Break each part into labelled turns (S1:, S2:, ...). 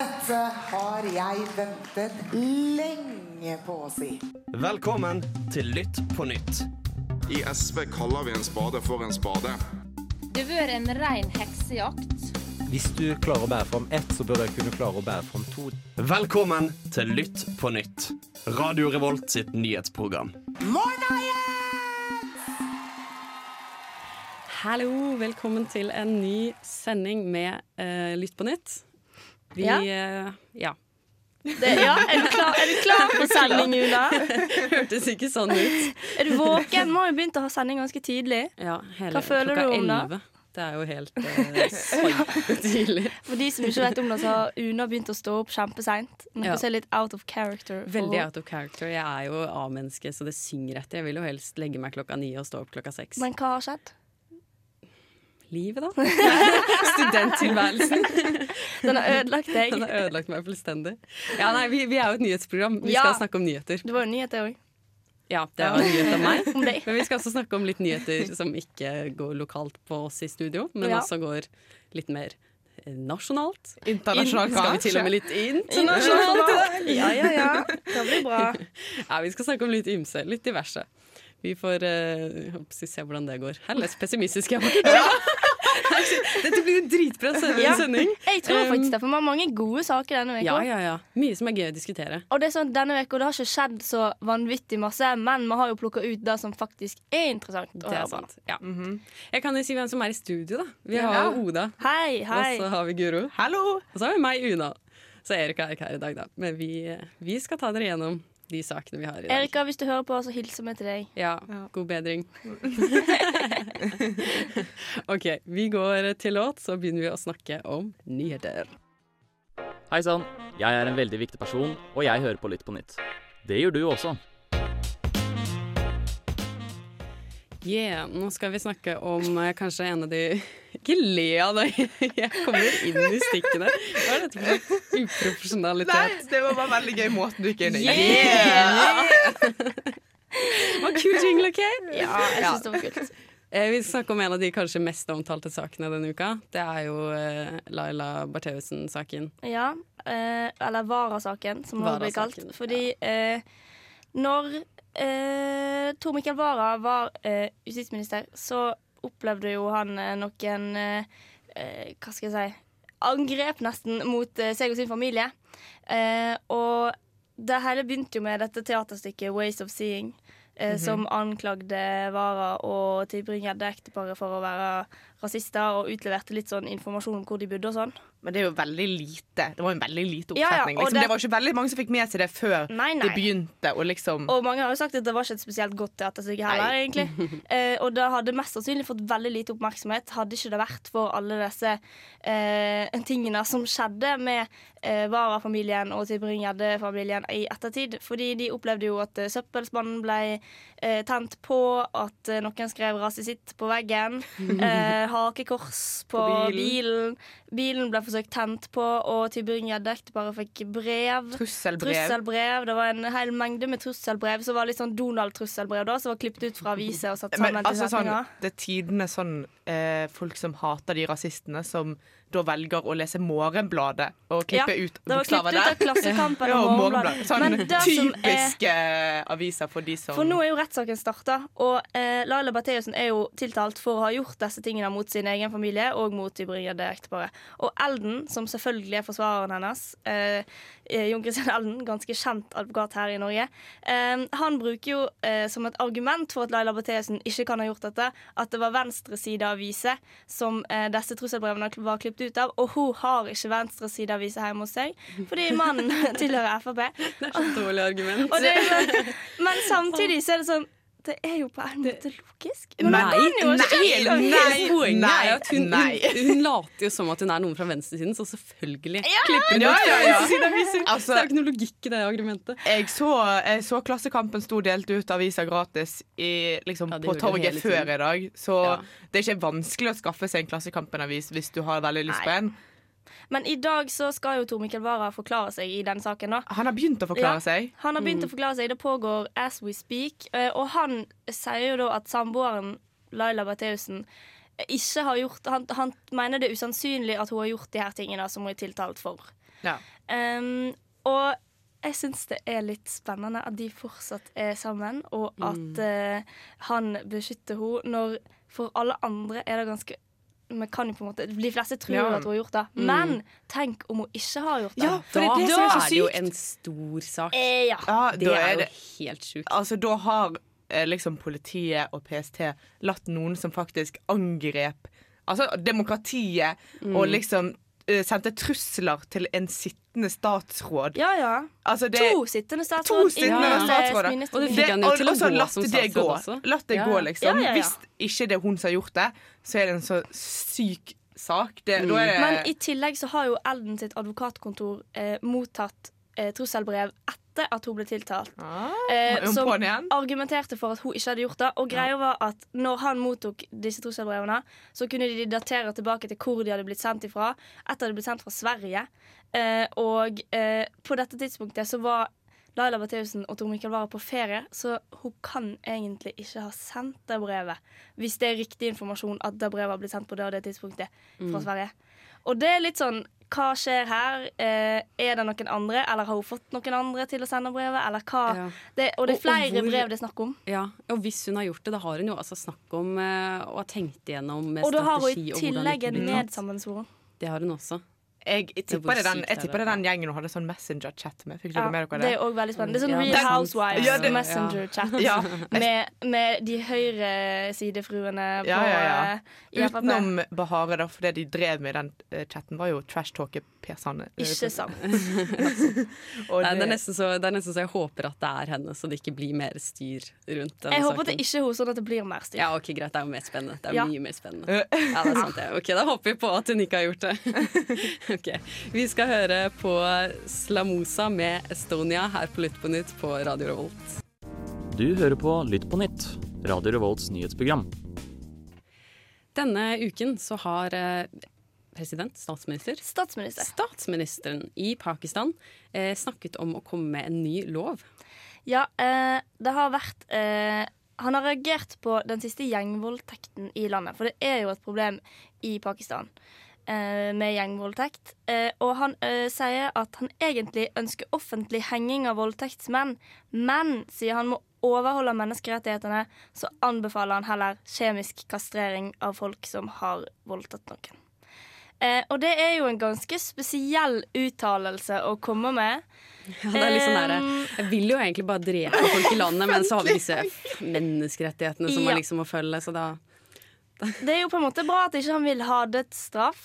S1: dette har jeg ventet lenge på å si.
S2: Velkommen til Lytt på nytt.
S3: I SV kaller vi en spade for en spade.
S4: Det har vært en rein heksejakt.
S5: Hvis du klarer å bære fram ett, så bør du kunne klare å bære fram to.
S2: Velkommen til Lytt på nytt. Radio Revolt sitt nyhetsprogram.
S1: Morning!
S6: Hallo, velkommen til en ny sending med eh, Lytt på nytt. Vi
S7: Ja.
S6: eh, ja.
S7: Det, ja, er du klar, er du klar for sending, Una?
S6: Hørtes ikke sånn ut.
S7: Er du våken? Må jo begynne å ha sending ganske tidlig.
S6: Ja, hele
S7: Hva føler
S6: klokka
S7: du om det?
S6: 11. Det er jo helt eh, sykt tidlig.
S7: For de som ikke vet om det, så har Una begynt å stå opp kjempeseint. Noe
S6: Ja.
S7: som er litt out of character. for-
S6: Veldig out of character. Jeg er jo A-menneske, så det synger etter. Jeg vil jo helst legge meg klokka ni og stå opp klokka seks.
S7: Men hva har skjedd?
S6: Livet, da? Studenttilværelsen.
S7: Den har ødelagt deg.
S6: Den har ødelagt meg fullstendig. Ja, nei, vi, vi er jo et nyhetsprogram. Vi
S7: Ja.
S6: skal snakke om nyheter.
S7: Det var jo nyhet, det òg.
S6: Ja, det var en nyhet om meg.
S7: Om deg.
S6: Men vi skal også snakke om litt nyheter som ikke går lokalt på oss i studio, men
S7: Ja.
S6: også går litt mer eh, nasjonalt.
S8: Internasjonalt,
S6: Skal vi til og med litt internasjonalt?
S7: Ja, ja, ja. Det blir bra.
S6: Ja, vi skal snakke om litt ymse, litt diverse. Vi får eh, håper å se hvordan det går. Herlig pessimistisk jeg var. Dette blir en dritbra sending.
S7: Ja.
S6: sending.
S7: Jeg tror
S6: Um,
S7: faktisk det, for vi har mange gode saker denne
S6: Ja,
S7: uka.
S6: ja, ja. Mye som er gøy å diskutere.
S7: Og det er sånn, denne uka, det har ikke skjedd så vanvittig masse, men vi har jo plukka ut det som faktisk er interessant. å
S6: Det er
S7: høre på.
S6: sant. Ja. Jeg kan jo si hvem som er i studio, da. Vi har jo Oda,
S7: Hei,
S6: og så
S7: hei.
S6: har vi Guro.
S8: Hallo!
S6: Og så har vi meg, Una. Så Erika er ikke her i dag, da. Men vi, vi skal ta dere gjennom de sakene vi har i dag.
S7: Erika, hvis du hører på, så hilser vi til deg.
S6: Ja, god bedring. OK, vi går til låt, så begynner vi å snakke om nyheter.
S9: Hei sann, jeg er en veldig viktig person, og jeg hører på Lytt på nytt. Det gjør du også.
S6: Yeah, nå skal vi snakke om eh, kanskje en av de Ikke le av det, jeg kommer inn i stikkene. Hva er dette for
S8: Nei,
S6: uprofesjonalitet?
S8: det var bare veldig gøy måten du gikk inn i.
S6: Det var kul jingle, OK?
S7: Ja, jeg syns det var kult.
S6: Eh, Vi skal snakke om en av de kanskje mest omtalte sakene denne uka. Det er jo eh, Laila Bertheussen-saken.
S7: Ja, eh, eller Vara-saken, som hun blir
S6: Vara-saken,
S7: kalt. Fordi eh, når eh, Tor Mikkel Vara var eh, justisminister, så opplevde jo han eh, noen eh, eh, Hva skal jeg si Angrep nesten mot eh, seg og sin familie. Eh, og det hele begynte jo med dette teaterstykket 'Ways of Seeing'. eh,
S8: Mhm.
S7: Som anklagde Vara og tilbringede ekteparet for å være rasister, og utleverte litt sånn informasjon om hvor de bodde og sånn.
S8: Men det er jo veldig lite. Det var en veldig lite
S7: Ja, ja,
S8: oppsetning.
S7: og
S8: liksom.
S7: det-
S8: det... var ikke veldig mange som fikk med seg det før
S7: Nei,
S8: det
S7: nei.
S8: begynte. Og liksom
S7: Og mange har jo sagt at det var ikke et spesielt godt teaterstykke heller,
S8: Nei.
S7: egentlig. Eh, og det hadde mest sannsynlig fått veldig lite oppmerksomhet hadde ikke det vært for alle disse eh, tingene som skjedde med eh, Vara-familien og Tybring-Gjedde-familien i ettertid. Fordi de opplevde jo at eh, søppelspannen ble eh, tent på, at eh, noen skrev raset sitt på veggen, eh, hakekors på,
S8: På
S7: bilen. bilen. ble forsøkt tent på, og Tybring-Gjedde-ekteparet fikk brev.
S8: trusselbrev.
S7: Trusselbrev. Det var en hel mengde med trusselbrev som var litt sånn Donald-trusselbrev, da, som var klippet ut fra aviser og satt sammen
S8: Men altså
S7: til
S8: sånn,
S7: setninger.
S8: det er tidene sånn eh, folk som hater de rasistene, som da velger å lese Morgenbladet og klippe
S7: Ja,
S8: ut
S7: det var klippet
S8: bokstaver
S7: ut av
S8: der.
S7: Klassekampen
S8: Ja,
S7: og
S8: og
S7: Morgenbladet.
S8: Morgenbladet. Sånn
S7: Men det som er-
S8: typiske aviser for de som
S7: For nå er jo rettssaken starta, og eh, Laila Bertheussen er jo tiltalt for å ha gjort disse tingene mot sin egen familie og mot Tybring-Gjedde-ekteparet. Og Elden, som selvfølgelig er forsvareren hennes, eh, eh, Jon Christian Elden, ganske kjent advokat her i Norge, eh, han bruker jo eh, som et argument for at Laila Bertheussen ikke kan ha gjort dette, at det var venstresideaviser som eh, disse trusselbrevene var klippet ut av, og hun har ikke venstresideaviser hjemme hos seg, fordi mannen tilhører Frp.
S6: Det er så dårlig argument.
S7: Og det, er sånn- men samtidig så er det sånn Det er jo på en måte logisk. Men
S6: Nei,
S7: man kan jo ikke
S8: nei,
S7: helt logisk.
S8: nei,
S6: Poenget er jo at hun,
S8: nei.
S6: hun, hun later jo som at hun er noen fra venstresiden, så selvfølgelig klipper hun
S8: Ja, ja,
S6: ut
S8: ja.
S6: venstresideaviser.
S8: Altså-
S6: Så det er jo ikke noe logikk i det argumentet.
S8: jeg så, jeg så Klassekampen sto delt ut aviser gratis i, liksom,
S6: Ja, de
S8: på
S6: gjorde det hele
S8: torget
S6: tiden.
S8: før i dag. Så
S6: Ja.
S8: det er ikke vanskelig å skaffe seg en Klassekampen-avis hvis du har veldig lyst på en.
S7: Men i dag så skal jo Tor Mikkel Wara forklare seg i den saken, da.
S8: Han har begynt å forklare
S7: Ja.
S8: seg. Mm.
S7: Han har begynt å forklare seg. Det pågår as we speak. eh, Og han sier jo da at samboeren Laila eh, Bertheussen ikke har gjort han, han mener det er usannsynlig at hun har gjort de her tingene som hun er tiltalt for.
S8: Ja.
S7: Ehm, og jeg syns det er litt spennende at de fortsatt er sammen, og
S8: Mm.
S7: at eh, han beskytter henne når For alle andre er det ganske vi kan jo på en måte, De fleste tror
S8: Ja. Mm.
S7: at hun har gjort det, men tenk om hun ikke har gjort det.
S6: Ja, for da,
S7: det
S6: det,
S7: som er så
S6: er det jo en stor sak.
S7: Eh, ja.
S8: Ja,
S6: Det
S8: da
S6: er
S8: er
S6: jo
S8: det
S6: helt sjukt.
S8: Altså, da har eh, liksom politiet og PST latt noen som faktisk angrep Altså demokratiet,
S6: Mm.
S8: og liksom eh, sendte trusler til en sittende statsråd.
S7: ja, ja.
S8: Altså, det
S7: To sittende statsråd.
S8: To sittende
S7: inkludert, eh,
S8: statsråder.
S7: minister-
S6: Og det fikk han jo
S8: og-
S6: til å
S8: og så
S6: gå
S8: latt
S6: som
S8: det
S6: statsråd
S8: gå.
S6: også.
S8: Latt det
S6: Ja.
S8: gå, liksom.
S7: Ja, ja, ja.
S8: Hvis ikke det er hun som har gjort det, så er det en så syk sak. Det,
S6: Mm.
S8: da er det,
S7: Men i tillegg så har jo Elden sitt advokatkontor eh, mottatt eh, trusselbrev etter at hun ble tiltalt.
S8: Ah,
S7: eh,
S8: er hun
S7: som
S8: på'n igjen?
S7: argumenterte for at hun ikke hadde gjort det. Og greia var at når han mottok disse trusselbrevene, så kunne de datere tilbake til hvor de hadde blitt sendt ifra. Etter at de hadde blitt sendt fra Sverige. Eh, og eh, på dette tidspunktet så var Laila Bertheussen og Tor Mikael Wara på ferie, så hun kan egentlig ikke ha sendt det brevet. Hvis det er riktig informasjon at det brevet har blitt sendt på det og det tidspunktet fra
S6: Mm.
S7: Sverige. Og det er litt sånn hva skjer her? Eh, er det noen andre? Eller har hun fått noen andre til å sende brevet? Eller hva?
S6: Ja.
S7: Det, og det
S6: Og-
S7: er
S6: og
S7: flere
S6: hvor-
S7: brev det er snakk om.
S6: Ja, og hvis hun har gjort det, da har hun jo altså snakk om eh, og har tenkt igjennom eh,
S7: Og da har hun
S6: strategi
S7: i
S6: og hvordan
S7: tillegg
S6: dette
S7: en
S6: blir tatt.
S7: nedsammensvoren.
S6: Det har hun også.
S8: Jeg
S6: hvor
S8: tipper det er den,
S6: sykt
S8: jeg
S6: er
S8: tipper det
S6: det?
S8: er den gjengen hun hadde sånn Messenger-chat med. Fikk dere
S7: Ja,
S8: med dere
S7: det
S8: det? Mm.
S7: er òg veldig spennende. Det er sånn
S6: Ja, det er
S7: Real
S6: sant.
S7: Housewives
S8: Ja, det-
S7: Messenger-chat.
S8: Ja.
S7: Med, med de høyresidefruene på
S8: Ja, ja, ja.
S7: eh, i Frp.
S8: Utenom Bahare, da, for det de drev med i den eh, chatten, var jo trash-talke Per Sanne. Eh,
S7: Ikke sant.
S8: Og
S6: Nei, det, er
S8: det-
S6: nesten så, det er nesten så jeg håper at det er henne, så det ikke blir mer styr rundt den
S7: Jeg
S6: saken.
S7: håper det ikke er hun, sånn at det blir mer styr.
S6: Ja, ok, greit, det er jo mer spennende. Det er jo
S7: Ja. Eh.
S6: mye mer spennende. Ja, det er sant det. Ok, da håper vi på at hun ikke har gjort det. ok, Vi skal høre på Slamosa med Estonia her på Lytt på nytt på Radio Revolt.
S9: Du hører på Lytt på nytt, Radio Revolts nyhetsprogram.
S6: Denne uken så har eh, president, statsminister,
S7: Statsminister.
S6: statsministeren i Pakistan eh, snakket om å komme med en ny lov.
S7: Ja, eh, det har vært eh, Han har reagert på den siste gjengvoldtekten i landet. For det er jo et problem i Pakistan eh, med gjengvoldtekt. Eh, og han eh, sier at han egentlig ønsker offentlig henging av voldtektsmenn, men sier han må overholde menneskerettighetene, så anbefaler han heller kjemisk kastrering av folk som har voldtatt noen. Eh, og det er jo en ganske spesiell uttalelse å komme med.
S6: Ja, det er litt sånn derre, Jeg vil jo egentlig bare drepe folk i landet, men så har vi disse menneskerettighetene som
S7: Ja.
S6: man liksom må følge, så da
S7: Det er jo på en måte bra at ikke han vil ha dødsstraff.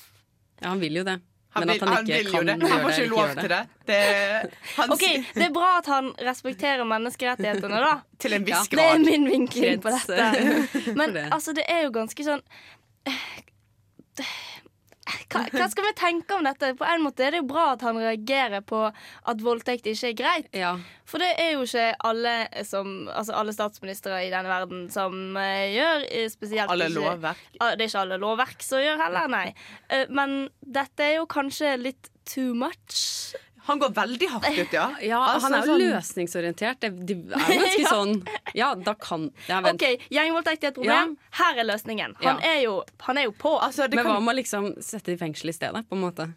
S6: Ja, han vil jo det.
S8: Han
S6: Men
S8: vil,
S6: at han ikke
S8: vil jo
S6: kan
S8: det.
S6: gjøre det.
S8: Han får ikke
S6: eller
S8: lov
S6: gjøre
S8: til det. det han
S7: Ok, Det er bra at han respekterer menneskerettighetene, da.
S8: Til en viss
S7: Det er
S8: grad.
S7: min vinkling på
S6: Kreds,
S7: dette. Men
S6: det.
S7: altså, det er jo ganske sånn hva, hva skal vi tenke om dette? På en måte er det jo bra at han reagerer på at voldtekt ikke er greit.
S6: Ja.
S7: For det er jo ikke alle, som, altså alle statsministre i denne verden som eh, gjør eh, spesielt
S8: Alle
S7: ikke-
S8: lovverk.
S7: Ah, Det er ikke alle lovverk som gjør heller, nei. Eh, Men dette er jo kanskje litt too much.
S8: Han går veldig hardt ut, ja.
S6: Ja,
S8: Altså,
S6: han er jo
S8: sånn-
S6: løsningsorientert. Det, det er jo ganske
S7: Ja.
S6: sånn Ja, da kan Ja, vent.
S7: OK, gjengvoldtekt er et problem. Her er løsningen. Han,
S6: Ja.
S7: er, jo, han er jo på.
S8: Altså, det
S6: Men hva
S8: kan,
S6: med å liksom sette det i fengsel i stedet, på en måte?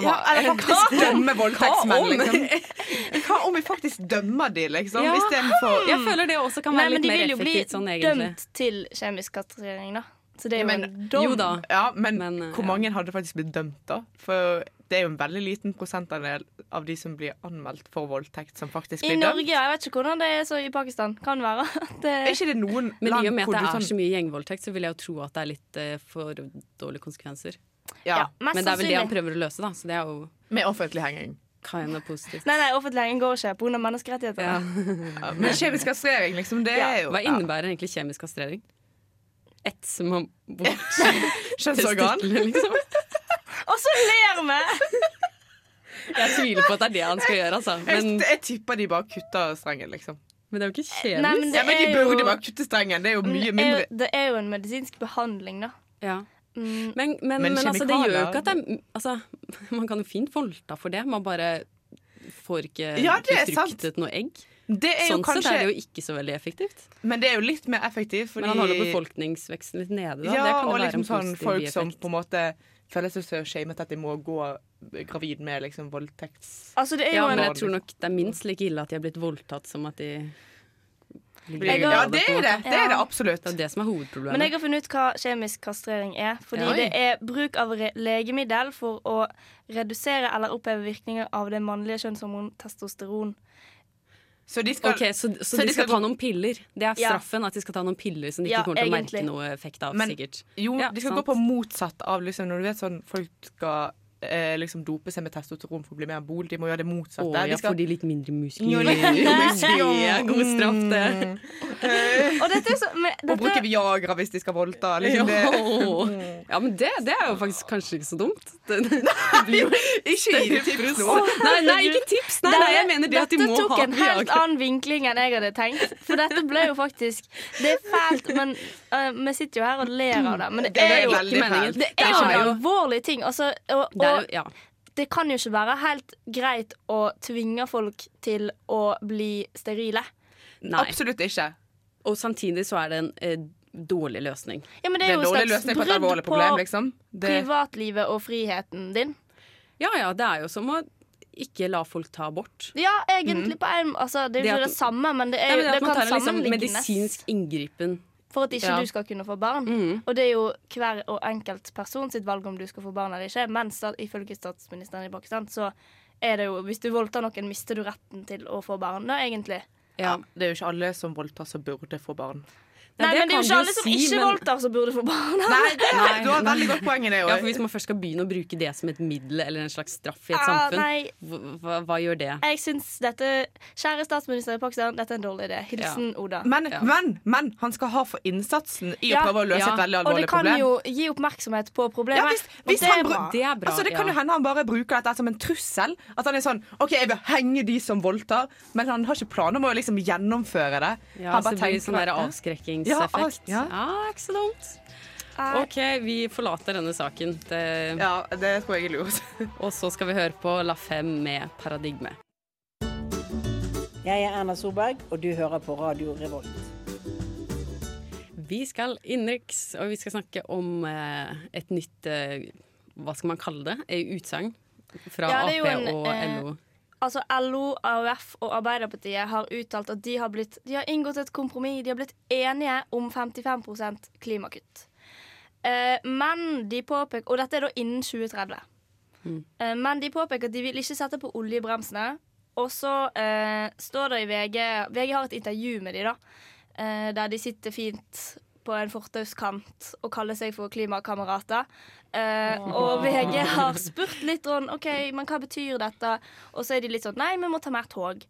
S8: ja, eller faktisk dømme voldtektsmenn,
S6: Hva om?
S8: liksom. Hva om vi faktisk dømmer de, liksom?
S6: Ja.
S8: Istedenfor
S6: Jeg føler det også kan
S7: Nei,
S6: være
S7: men
S6: litt
S7: de
S6: mer
S7: vil jo bli
S6: effektivt sånn, egentlig.
S7: dømt til kjemisk kastrering, da. Så det er jo
S8: Men-
S7: en dom.
S6: Jo da.
S8: Ja, men,
S6: Men, eh,
S8: hvor
S6: ja.
S8: mange hadde faktisk blitt dømt, da? For det er jo en veldig liten prosentandel av de som blir anmeldt for voldtekt, som faktisk
S7: I
S8: blir
S7: Norge,
S8: dømt.
S7: ja. Jeg vet ikke hvordan det er så i Pakistan. Kan være. at eh, Det,
S8: Er ikke det noen
S6: Men i og
S8: land
S6: med
S8: hvor
S6: at
S8: du
S6: det er
S8: sånn
S6: så mye gjengvoldtekt, så vil jeg jo tro at det er litt eh, for dårlige konsekvenser.
S8: ja,
S7: mest
S6: Men det er vel det han
S7: sannsynlig.
S6: prøver å løse, da, så det er jo
S8: Med offentlig henging.
S6: kind of positivt.
S7: Nei, nei, offentlig henging går ikke pga. menneskerettighetene.
S6: Ja.
S8: Ja, men kjemisk kastrering, liksom, det er jo
S6: Hva
S8: ja.
S6: innebærer egentlig kjemisk kastrering? Ett som har bort
S8: Kjønnsorgan.
S6: testiklene, liksom?
S7: Og så ler vi!
S6: Jeg tviler på at det er det han skal gjøre, altså. Men,
S8: Jeg, jeg tipper de bare kutter strengen, liksom.
S6: men det er jo ikke
S7: Nei,
S6: kjemisk.
S7: men
S8: Ja,
S7: det
S8: men de
S7: er jo,
S8: burde bare kutte strengen. Det er jo mye
S7: det er
S8: mindre
S7: jo, det er jo en medisinsk behandling, da.
S6: Ja. Men,
S7: Mm,
S6: men,
S8: Men
S6: men altså, det gjør jo
S8: kjemikalier-
S6: ikke at det er altså, Man kan jo fint voldta for det, man bare får ikke
S8: Ja, det er sant.
S6: befruktet noe egg.
S8: Det er jo
S6: Sånn
S8: kanskje
S6: sett er det jo ikke så veldig effektivt.
S8: Men det er jo litt mer effektivt, fordi
S6: Men han holder befolkningsveksten litt nede, da.
S8: Ja,
S6: det kan jo
S8: og
S6: være
S8: liksom
S6: en
S8: sånn
S6: positiv
S8: folk som
S6: bieffekt.
S8: på en måte føler seg så shamet at de må gå gravid med liksom voldtekts...
S7: Altså, det er
S6: Ja,
S7: jo
S6: men
S7: en
S6: jeg tror nok det er minst like ille at de har blitt voldtatt som at de
S7: Jeg har-
S8: Ja, det er det. Det er det absolutt.
S6: Det er det som er hovedproblemet.
S7: Men jeg har funnet ut hva kjemisk kastrering er. Fordi
S6: Oi.
S7: det er bruk av re legemiddel for å redusere eller oppheve virkninger av det mannlige kjønnshormon testosteron.
S8: Så de skal
S6: Ok, så, så, de skal, ta noen piller. Det er
S7: Ja.
S6: straffen. At de skal ta noen piller som de ikke
S7: Ja,
S6: kommer til
S7: egentlig.
S6: å merke noe effekt av.
S8: Men-
S6: sikkert
S8: Jo,
S6: Ja,
S8: de skal
S6: sant.
S8: gå på motsatt av liksom, Når du vet sånn folk skal eh, liksom dope seg med testosteron for å bli mer bol, de må gjøre det motsatte.
S6: Å ja,
S8: de skal,
S6: får de litt mindre muskler?
S8: Jo, litt Mm.
S6: Det er god straff, det.
S7: Og dette er så, men,
S8: Og bruke
S7: dette,
S8: Viagra hvis de skal voldta.
S6: Ja.
S8: Liksom det.
S7: Mm.
S6: ja, men det, det er jo faktisk kanskje ikke så dumt. Det, det blir jo
S8: Ikke gi det tips nå!
S6: Nei, nei, ikke tips! Nei, nei, jeg mener det at de
S7: dette
S6: må
S7: tok
S6: ha
S7: en helt
S6: Viagra.
S7: annen vinkling enn jeg hadde tenkt. For dette ble jo faktisk Det er fælt, men øh, vi sitter jo her og ler av det. Men det
S8: Det
S7: er
S8: er
S7: jo,
S8: veldig fælt.
S7: det
S6: Det
S7: er jo
S6: er
S7: en
S6: jo-
S7: alvorlig ting. Altså, og,
S6: Det er
S7: og
S6: jo- ja.
S7: det kan jo ikke være helt greit å tvinge folk til å bli sterile.
S6: Nei.
S8: Absolutt ikke.
S6: Og samtidig så er det en eh, dårlig løsning.
S7: Ja, men
S8: Det
S7: det er
S8: er
S7: jo
S8: en dårlig
S7: et
S8: løsning
S7: slags
S8: på et
S7: brudd
S8: alvorlig
S7: på
S8: problem, liksom. Det,
S7: privatlivet og friheten din.
S6: Ja ja, det er jo som å ikke la folk ta abort.
S7: Ja, egentlig på en altså, Det er
S6: Det
S7: jo
S6: at-
S7: ikke det samme, men det,
S6: Nei,
S7: er, jo-
S6: men det, at
S7: det,
S6: man
S7: kan
S6: tar en liksom
S7: sammenlignes
S6: medisinsk inngripen.
S7: for at ikke
S6: Ja.
S7: du skal kunne få barn.
S6: Mhm.
S7: Og det er jo hver og enkelt person sitt valg om du skal få barn eller ikke, men stat, ifølge statsministeren i Pakistan så er det jo Hvis du voldtar noen, mister du retten til å få barn, da, egentlig.
S6: Ja.
S8: det er jo ikke alle som voldtar, som burde få barn.
S7: Nei,
S6: det
S7: men det
S6: kan
S7: er jo
S6: du
S7: ikke alle som
S6: si,
S7: ikke
S6: men-
S7: voldtar, som burde få barn.
S8: Nei, det, du har et veldig godt poeng i det.
S6: Ja, for
S8: Joy.
S6: Hvis man først skal begynne å bruke det som et middel eller en slags straff i et
S7: Ah,
S6: samfunn,
S7: nei.
S6: hva, hva- hva gjør det?
S7: Jeg syns dette Kjære statsminister i Pakistan, dette er en dårlig idé. Hilsen Oda.
S8: Men,
S6: Ja.
S8: men, men han skal ha for innsatsen i
S7: Ja,
S8: å prøve å løse
S6: ja.
S8: et veldig
S7: Og det
S8: alvorlig
S7: kan
S8: problem.
S7: jo gi oppmerksomhet på problemet.
S8: Ja, hvis-
S7: og
S8: hvis
S7: det
S8: han
S7: er
S8: bra.
S7: bra.
S6: Det er bra.
S8: altså, det kan
S6: ja.
S8: jo hende han bare bruker dette som en trussel. At han er sånn OK, jeg vil henge de som voldtar, men han har ikke planer om å liksom gjennomføre det.
S6: Ja,
S8: han
S6: så det blir sånn der
S8: at-
S6: avskrekkingseffekt.
S8: Ja,
S6: Ja,
S8: av-
S6: ikke så dumt.
S7: Nei.
S6: OK, vi forlater denne saken. Det,
S8: ja, det tror jeg er lurt.
S6: Og så skal vi høre på La Femme med 'Paradigme'.
S10: Jeg er Erna Solberg, og du hører på Radio Revolt.
S6: Vi skal innenriks, og vi skal snakke om eh, et nytt eh, Hva skal man kalle det? Eh, Utsagn fra
S7: Ja, det er jo
S6: Ap
S7: en,
S6: og
S7: eh,
S6: LO.
S7: Altså LO, AUF og Arbeiderpartiet har uttalt at de har, blitt, de har inngått et kompromiss. De har blitt enige om 55 klimakutt. Eh, men de påpeker Og dette er da innen 2030. Eh, men de påpeker at de vil ikke sette på oljebremsene. Og så eh, står det i VG VG har et intervju med de da. Eh, der de sitter fint på en fortauskant og kaller seg for klimakamerater. Eh, og VG har spurt litt sånn OK, men hva betyr dette? Og så er de litt sånn Nei, vi må ta mer tog.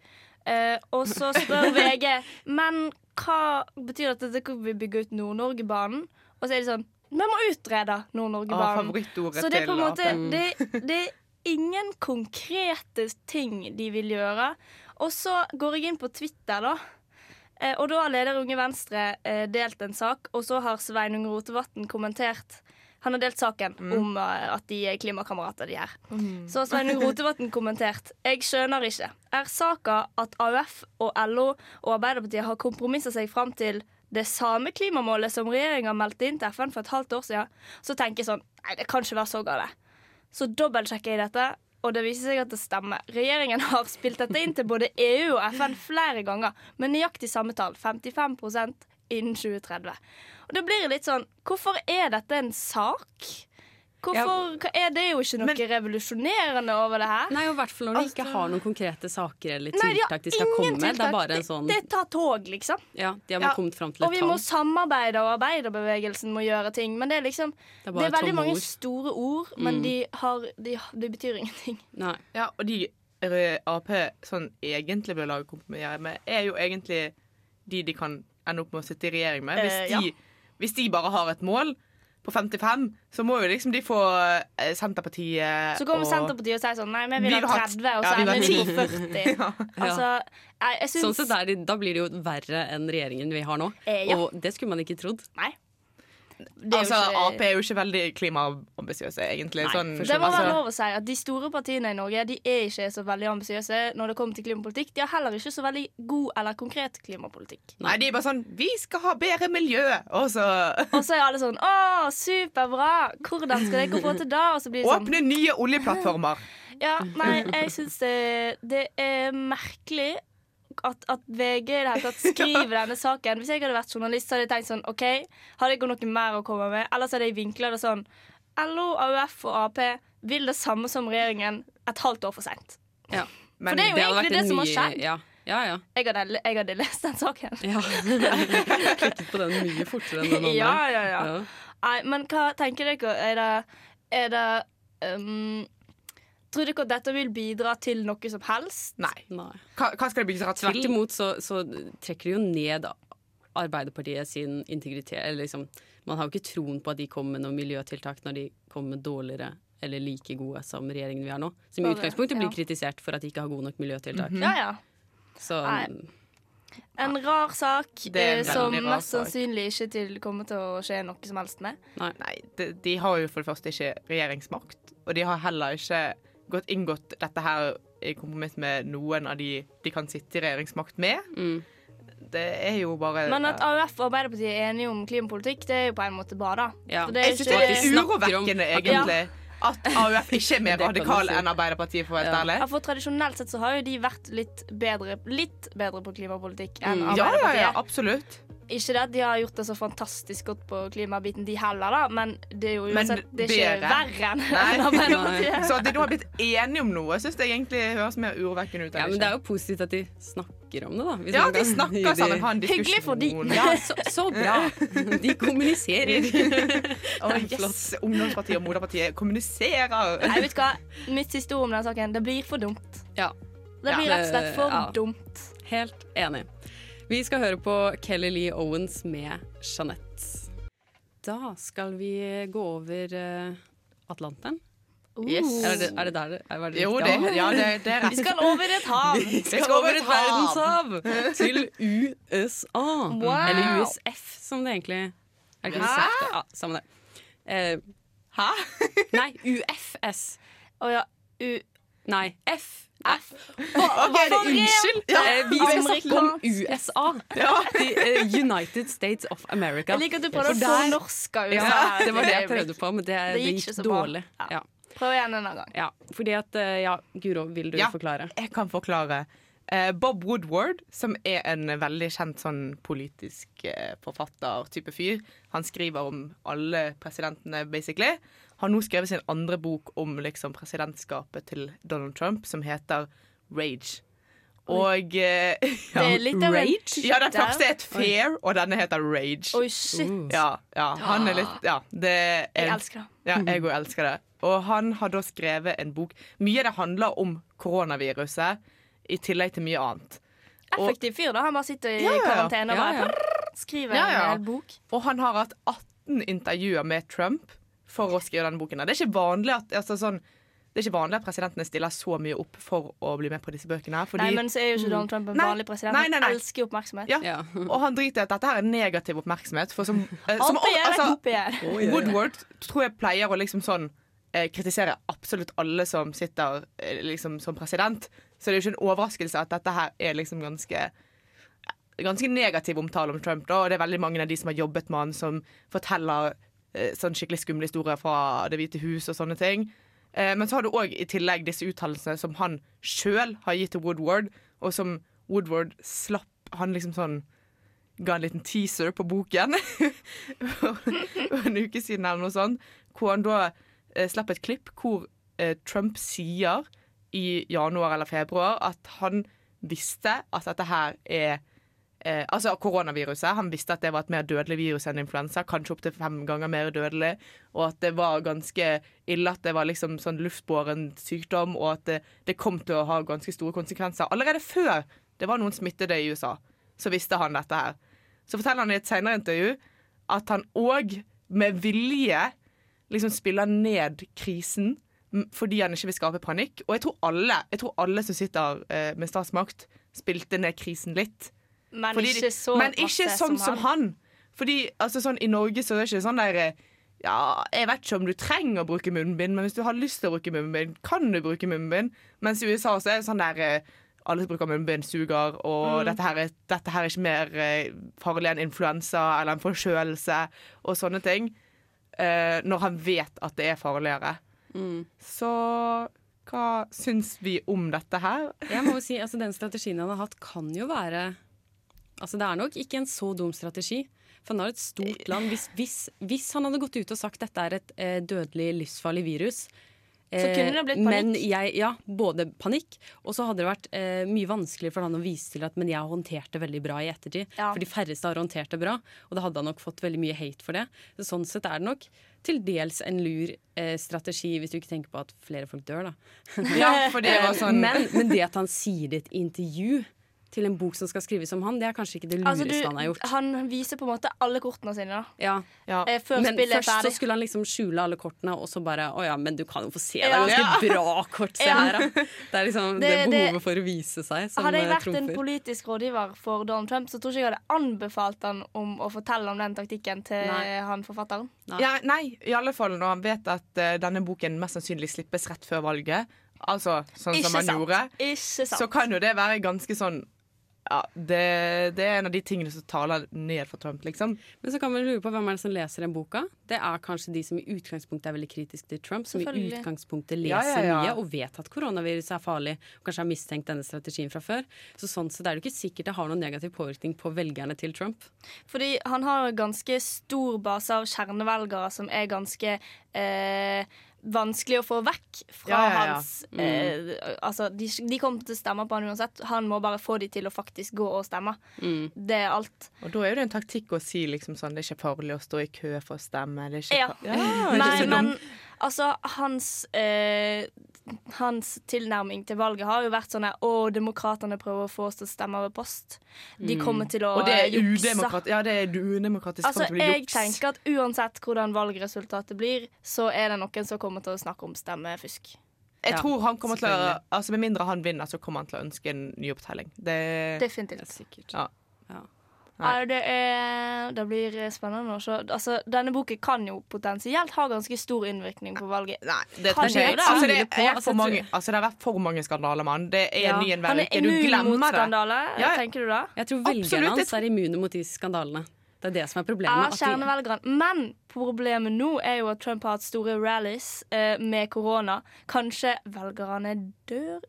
S7: Eh, og så spør VG Men hva betyr dette? Dere vil bygge ut Nord-Norgebanen? Og så er de sånn Vi må utrede
S8: Ah,
S7: Nord-Norgebanen.
S8: favorittordet
S7: så det er på en
S8: til
S7: måte
S8: Ap.
S7: det, det er ingen konkrete ting de vil gjøre. Og så går jeg inn på Twitter, da. Eh, Og da har leder Unge Venstre eh, delt en sak, og så har Sveinung Rotevatn kommentert Han har delt saken om eh, at de er klimakamerater, de her. Så har Sveinung Rotevatn kommentert Jeg skjønner ikke. Er saka at AUF og LO og Arbeiderpartiet har kompromissa seg fram til det samme klimamålet som regjeringa meldte inn til FN for et halvt år siden, så tenker jeg sånn Nei, det kan ikke være så galt. Så dobbeltsjekker jeg dette, og det viser seg at det stemmer. Regjeringen har spilt dette inn til både EU og FN flere ganger, med nøyaktig samme tall, 55 innen 2030. Og da blir det litt sånn Hvorfor er dette en sak? Hvorfor, hva er det jo ikke noe revolusjonerende over det her?
S6: Nei, og i hvert fall når de ikke har noen konkrete saker eller
S7: Nei, har
S6: tiltak Altså- de skal
S7: ingen
S6: komme med. Det
S7: tiltak.
S6: er bare en sånn
S7: Det, det tar tog, liksom.
S6: Ja, de har
S7: Ja,
S6: bare kommet fram til
S7: Og
S6: et
S7: vi
S6: tall.
S7: må samarbeide, og arbeiderbevegelsen må gjøre ting. Men det er liksom
S6: Det er
S7: Det
S6: bare
S7: er veldig
S6: tomme
S7: mange
S6: ord. Mm.
S7: store ord, men de, har, de, de betyr ingenting.
S6: Nei.
S8: Ja, og de eh, Ap sånn egentlig bør lage kompromisser med, er jo egentlig de de kan ende opp med å sitte i regjering med. Hvis
S7: Eh,
S8: de, hvis de bare har et mål på 55, så må jo liksom de få eh, Senterpartiet
S7: Så kommer
S8: og
S7: Senterpartiet og sier sånn Nei, vi vil
S8: Vi
S7: ha
S8: vil ha
S7: 30, og
S8: ja,
S7: så
S8: vi vil ha
S7: ender de på 40. Altså, jeg, jeg
S6: Sånn
S7: syns
S6: sett er de, da blir det jo verre enn regjeringen vi har nå.
S7: Eh, ja.
S6: Og det skulle man ikke trodd.
S7: Nei. det er jo
S8: altså,
S7: ikke-
S8: Ap er jo ikke veldig klimaambisiøse, egentlig.
S6: Nei,
S8: sånn,
S6: for
S7: Det må
S8: altså,
S7: være lov å si at de store partiene i Norge De er ikke så veldig ambisiøse når det kommer til klimapolitikk. De har heller ikke så veldig god eller konkret klimapolitikk.
S8: Nei, de er bare sånn 'Vi skal ha bedre miljø!' Og så
S7: Og så er alle sånn Å, superbra! Hvordan skal dere få til det? Og så blir det sånn
S8: åpne nye oljeplattformer.
S7: Ja, nei, jeg syns det, det er merkelig at, at VG i det hele tatt skriver denne saken. Hvis jeg hadde vært journalist, så hadde jeg tenkt sånn OK, har dere noe mer å komme med? Ellers hadde jeg vinkla det sånn LO, AUF og Ap vil det samme som regjeringen et halvt år for seint.
S6: Ja.
S7: For det er
S6: hadde
S7: jo
S6: vært
S7: egentlig det
S6: en
S7: som har
S6: ny-
S7: skjedd.
S6: Ja, ja. ja.
S7: Jeg hadde, jeg hadde lest den saken.
S6: Ja. Klikket på den mye fortere enn den andre.
S7: Ja, ja, ja.
S6: Ja.
S7: Nei, men hva tenker dere? Er det, er det ehm, Tror dere at dette vil bidra til noe som helst?
S8: Nei.
S6: Nei.
S8: Hva, hva skal det bidra til?
S6: Tvert imot så, så trekker det jo ned Arbeiderpartiet sin integritet. Eller liksom, man har jo ikke troen på at de kommer med noen miljøtiltak når de kommer med dårligere eller like gode som regjeringen vi har nå. Som i
S7: Bare-
S6: utgangspunktet blir
S7: ja.
S6: kritisert for at de ikke har gode nok miljøtiltak.
S7: Ja, ja.
S6: Så
S7: Nei. En rar sak
S8: er en
S7: eh, som
S8: veldig rar
S7: mest
S8: sak.
S7: sannsynlig ikke til kommer til å skje noe som helst med.
S8: Nei, de, de har jo for det første ikke regjeringsmakt, og de har heller ikke gått inngått dette her i kompromiss med noen av de de kan sitte i regjeringsmakt med.
S6: Mm.
S8: Det er jo bare
S7: Men at AUF og Arbeiderpartiet er enige om klimapolitikk, det er jo på en måte bra, da.
S6: ja.
S7: Så det
S8: Jeg
S7: er
S8: synes det
S7: ikke
S8: er
S6: de
S8: litt
S6: snakker om-
S8: urovekkende,
S6: at-
S8: egentlig, at AUF ikke er
S6: Det
S8: mer
S6: kan du
S8: radikal
S6: si.
S8: enn Arbeiderpartiet, for å være
S6: Ja.
S8: ærlig.
S7: Ja, for tradisjonelt sett så har jo de vært litt bedre, litt bedre på klimapolitikk enn
S6: Mm.
S8: Ja, ja,
S7: Arbeiderpartiet.
S8: ja, absolutt.
S7: Ikke det at de har gjort det så fantastisk godt på klimabiten, de heller, da, men det er jo
S8: Men
S7: uansett det er ikke
S8: bedre.
S7: verre enn
S8: Nei.
S7: enn Arbeiderpartiet.
S8: Så at de nå har blitt enige om noe, syns jeg egentlig høres mer urovekkende ut. enn
S6: ja, men
S8: ikke.
S6: det er liksom- jo positivt at de snakker om det, da. Hvis
S8: ja,
S6: man
S8: de
S6: kan gi
S8: snakker
S6: de-
S8: sammen, har en Sånn diskusjon.
S7: Hyggelig for de.
S6: Ja, så, så bra! De kommuniserer.
S8: Å,
S6: Det er
S8: yes, Ungdomspartiet og Moderpartiet kommuniserer.
S7: Nei, vet du hva? Mitt siste ord om denne saken, det blir for dumt.
S6: Ja.
S7: Det
S6: Ja.
S7: blir rett og slett for
S6: Ja.
S7: dumt.
S6: Helt enig. Vi skal høre på Kelly Lee Owens med Jeanette. Da skal vi gå over eh, Atlanteren.
S8: Yes.
S6: Er det, er det der det er det
S8: Jo,
S6: riktig
S8: det,
S6: hav?
S8: ja, det, det er
S7: Vi
S8: rett.
S7: skal over et hav.
S6: Vi skal
S8: skal
S6: over
S8: over
S6: et
S8: hav.
S6: verdenshav! Til USA.
S7: Wow.
S6: Eller USF, som det egentlig er. det ikke
S7: Hæ?
S6: sagt? Ja, samme det. Eh,
S8: Hæ?
S6: nei, UFS.
S7: Å ja. U
S6: Nei, F. F.
S8: Ok, det er unnskyld. Ja.
S6: Eh, vi skal snakke om
S7: Amerikansk.
S6: USA. The, eh, United States of America.
S7: jeg liker at du prøver
S6: For
S7: å få
S6: der-
S7: norsk av USA.
S6: Ja,
S7: her
S6: det var det jeg
S7: et øyeblikk.
S6: prøvde på, men det, det,
S7: gikk
S6: gikk,
S7: ikke så bra.
S6: dårlig.
S7: Ja.
S6: Ja.
S7: Prøv igjen en annen gang.
S6: Ja, fordi at eh, Ja, Guro, vil du
S8: Ja.
S6: forklare?
S8: Jeg kan forklare. Eh, Bob Woodward, som er en veldig kjent sånn politisk eh, forfatter-type fyr, han skriver om alle presidentene, basically, har nå skrevet sin andre bok om liksom, presidentskapet til Donald Trump, som heter Rage. Og eh,
S7: Det er litt av en
S8: Ja, den
S7: tittel.
S8: første het Fair, og denne heter Rage.
S7: Oi, shit.
S9: Uh.
S8: Ja, ja, han er
S6: Ah.
S8: litt Ja, det er
S7: Jeg elsker det.
S8: ja, jeg òg elsker det. Og han har da skrevet en bok. Mye av det handler om koronaviruset, i tillegg til mye annet. Og-
S7: Effektiv fyr, da. Han bare sitter i
S8: Ja, ja.
S7: karantene
S6: Ja,
S7: og bare
S6: ja.
S7: prrr, skriver
S8: Ja, ja.
S7: en hel bok.
S8: Og han har hatt 18 intervjuer med Trump for å skrive denne boken. her. Det er ikke vanlig at, altså sånn, det er ikke vanlig at presidentene stiller så mye opp for å bli med på disse bøkene. her, Fordi,
S7: Nei, men så er jo ikke Donald Trump en
S8: Nei,
S7: vanlig president.
S8: nei, nei, nei.
S7: Han elsker jo oppmerksomhet.
S8: ja,
S6: Ja.
S8: Og han driter i at dette her er negativ oppmerksomhet. For som, eh, som-
S7: Opp igjen,
S8: altså,
S7: opp igjen.
S8: Woodward tror jeg pleier å liksom sånn eh, kritisere absolutt alle som sitter eh, liksom som president. Så det er jo ikke en overraskelse at dette her er liksom ganske eh, Ganske negativ omtale om Trump. Da. Og det er veldig mange av de som har jobbet med han, som forteller eh, sånn skikkelig skumle historier fra Det hvite hus og sånne ting. Eh, men så har du òg i tillegg disse uttalelsene som han sjøl har gitt til Woodward, og som Woodward slapp Han liksom sånn ga en liten teaser på boken for en uke siden, eller noe sånt, hvor han da eh, slapp et klipp hvor eh, Trump sier i januar eller februar at han visste at dette her er eh, Altså koronaviruset. Han visste at det var et mer dødelig virus enn influensa, kanskje opptil fem ganger mer dødelig, og at det var ganske ille at det var liksom sånn luftbåren sykdom, og at det, det kom til å ha ganske store konsekvenser. Allerede før det var noen smittede i USA, så visste han dette her. Så forteller han i et senere intervju at han òg med vilje liksom spiller ned krisen m, fordi han ikke vil skape panikk. Og jeg tror alle, jeg tror alle som sitter eh, med statsmakt, spilte ned krisen litt.
S7: Men
S8: Fordi de-
S7: ikke så
S8: men ikke
S7: masse
S8: sånn som han. Fordi altså, sånn, I Norge så er det ikke sånn der eh, ja, Jeg vet ikke om du trenger å bruke munnbind, men hvis du har lyst til å bruke munnbind, kan du bruke munnbind. Mens i USA så er det sånn der eh, alle som bruker munnbind, suger, og dette, her er, dette her er ikke mer eh, farlig enn influensa eller en forkjølelse og sånne ting. eh, når han vet at det er farligere. Så hva syns vi om dette her?
S6: Jeg må jo si, altså Den strategien han har hatt, kan jo være Altså Det er nok ikke en så dum strategi. For han har et stort land. Hvis, hvis, hvis han hadde gått ut og sagt dette er et eh, dødelig, livsfarlig virus eh,
S7: kunne det blitt
S6: Men
S7: panikk.
S6: jeg, ja, både panikk, og så hadde det vært eh, mye vanskeligere for han å vise til at Men jeg har håndtert det veldig bra i ettertid.
S7: Ja.
S6: For de færreste har håndtert det bra, og da hadde han nok fått veldig mye hate for det. Så sånn sett er det nok til dels en lur eh, strategi, hvis du ikke tenker på at flere folk dør, da.
S8: Ja, for det var sånn
S6: Men, men det at han sier det i et intervju til en bok som skal skrives om han, det er kanskje ikke det lureste
S7: Altså, du,
S6: han har gjort.
S7: han viser på en måte alle kortene sine da.
S6: Ja.
S8: ja.
S7: Eh, før
S6: Men
S7: spillet er
S6: først så
S7: ferdig.
S6: skulle han liksom skjule alle kortene, og så bare Å ja, men du kan jo få se. Det er
S7: Ja.
S6: ganske bra kort, se
S7: Ja.
S6: her, da. Det er liksom det,
S7: Det- det-
S6: behovet for å vise seg som
S7: Hadde
S6: eh,
S7: jeg vært en
S6: trumfer.
S7: politisk rådgiver for Donald Trump, så tror ikke jeg hadde anbefalt han om å fortelle om den taktikken til
S6: Nei.
S7: han forfatteren.
S8: Ja, nei, i alle fall når han vet at eh, denne boken mest sannsynlig slippes rett før valget. Altså sånn
S7: Ikke
S8: som han
S7: sant.
S8: gjorde.
S7: Ikke sant.
S8: Så kan jo det være ganske sånn ja, det, det er en av de tingene som taler ned for Trump, liksom.
S6: Men så kan man lure på hvem er det som leser den boka. Det er kanskje de som i utgangspunktet er veldig kritiske til Trump, som i
S7: Selvfølgelig.
S6: utgangspunktet
S8: Ja,
S6: leser
S8: ja, ja.
S6: mye og vet at koronaviruset er farlig, og kanskje har mistenkt denne strategien fra før. Så sånn sett er det jo ikke sikkert det har noen negativ påvirkning på velgerne til Trump.
S7: Fordi han har en ganske stor base av kjernevelgere som er ganske eh, vanskelig å få vekk fra
S8: Ja, ja, Mm. ja.
S7: hans eh, Altså, de, de kommer til å stemme på han uansett. Han må bare få de til å faktisk gå og stemme.
S8: Mm.
S7: Det er alt.
S8: Og da er jo det en taktikk å si liksom sånn det er ikke farlig å stå i kø for å stemme. Det er ikke
S7: Ja.
S8: fa- ja, det er
S7: Mm. Nei,
S8: ikke så
S7: men
S8: dumt.
S7: altså, hans eh, Hans tilnærming til valget har jo vært sånn her Å, demokratene prøver å få oss til å stemme over post. De kommer til å
S8: Mm. Og det er sånn
S7: eh, jukse.
S8: udemokrat- ja, det er udemokratisk.
S7: Altså,
S8: Trump blir
S7: jeg
S8: juks.
S7: tenker at uansett hvordan valgresultatet blir, så er det noen som kommer til å snakke om stemmefusk.
S8: Jeg
S6: Ja,
S8: tror han kommer til å
S6: selvfølgelig.
S8: Altså Med mindre han vinner, så kommer han til å ønske en ny opptelling. Det,
S7: Definitivt.
S6: Sikkert.
S8: ja. Nei.
S7: Nei, det, er, det blir spennende å se. Altså, denne boken kan jo potensielt ha ganske stor innvirkning på valget.
S8: Nei, det
S7: Kanskje
S8: tror ikke jeg.
S7: det.
S8: Altså, det,
S6: Jeg tviler
S8: er
S6: på.
S8: for mange, altså, det har vært for mange skandaler, mann. Det er
S6: Ja.
S8: ny en hver
S7: Han er
S8: uke. Du
S7: immun mot
S8: glemmer det. Ja,
S7: skandale,
S8: ja.
S7: tenker du da?
S6: Jeg tror
S8: Absolutt,
S6: velgerne
S8: jeg
S6: hans er immune mot de skandalene. Det er det som er
S7: Er
S6: problemet. at de-
S7: kjernevelgeren. Men problemet nå er jo at Trump har hatt store rallies eh, med korona. Kanskje velgerne dør